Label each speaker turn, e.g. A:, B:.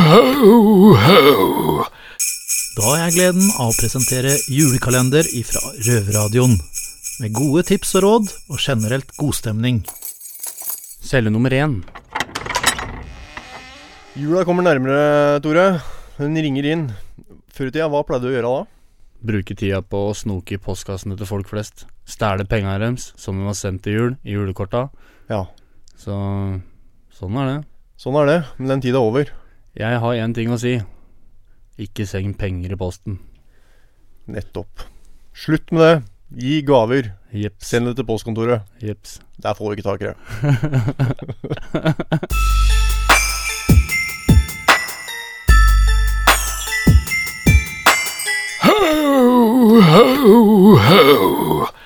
A: Ho, ho.
B: Da har jeg gleden av å presentere julekalender ifra Røverradioen. Med gode tips og råd, og generelt godstemning.
C: Celle nummer én.
D: Jula kommer nærmere, Tore. Hun ringer inn. Før i tida, hva pleide du å gjøre da?
C: Bruke tida på å snoke i postkassene til folk flest. Stjele pengene deres, som de har sendt til jul i julekorta.
D: Ja,
C: Så sånn er det.
D: sånn er det. Men den tida er over.
C: Jeg har én ting å si. Ikke seng penger i posten.
D: Nettopp. Slutt med det. Gi gaver.
C: Jeps.
D: Send det til postkontoret.
C: Jeps.
D: Der får vi ikke tak i det.
A: Ho, ho, ho.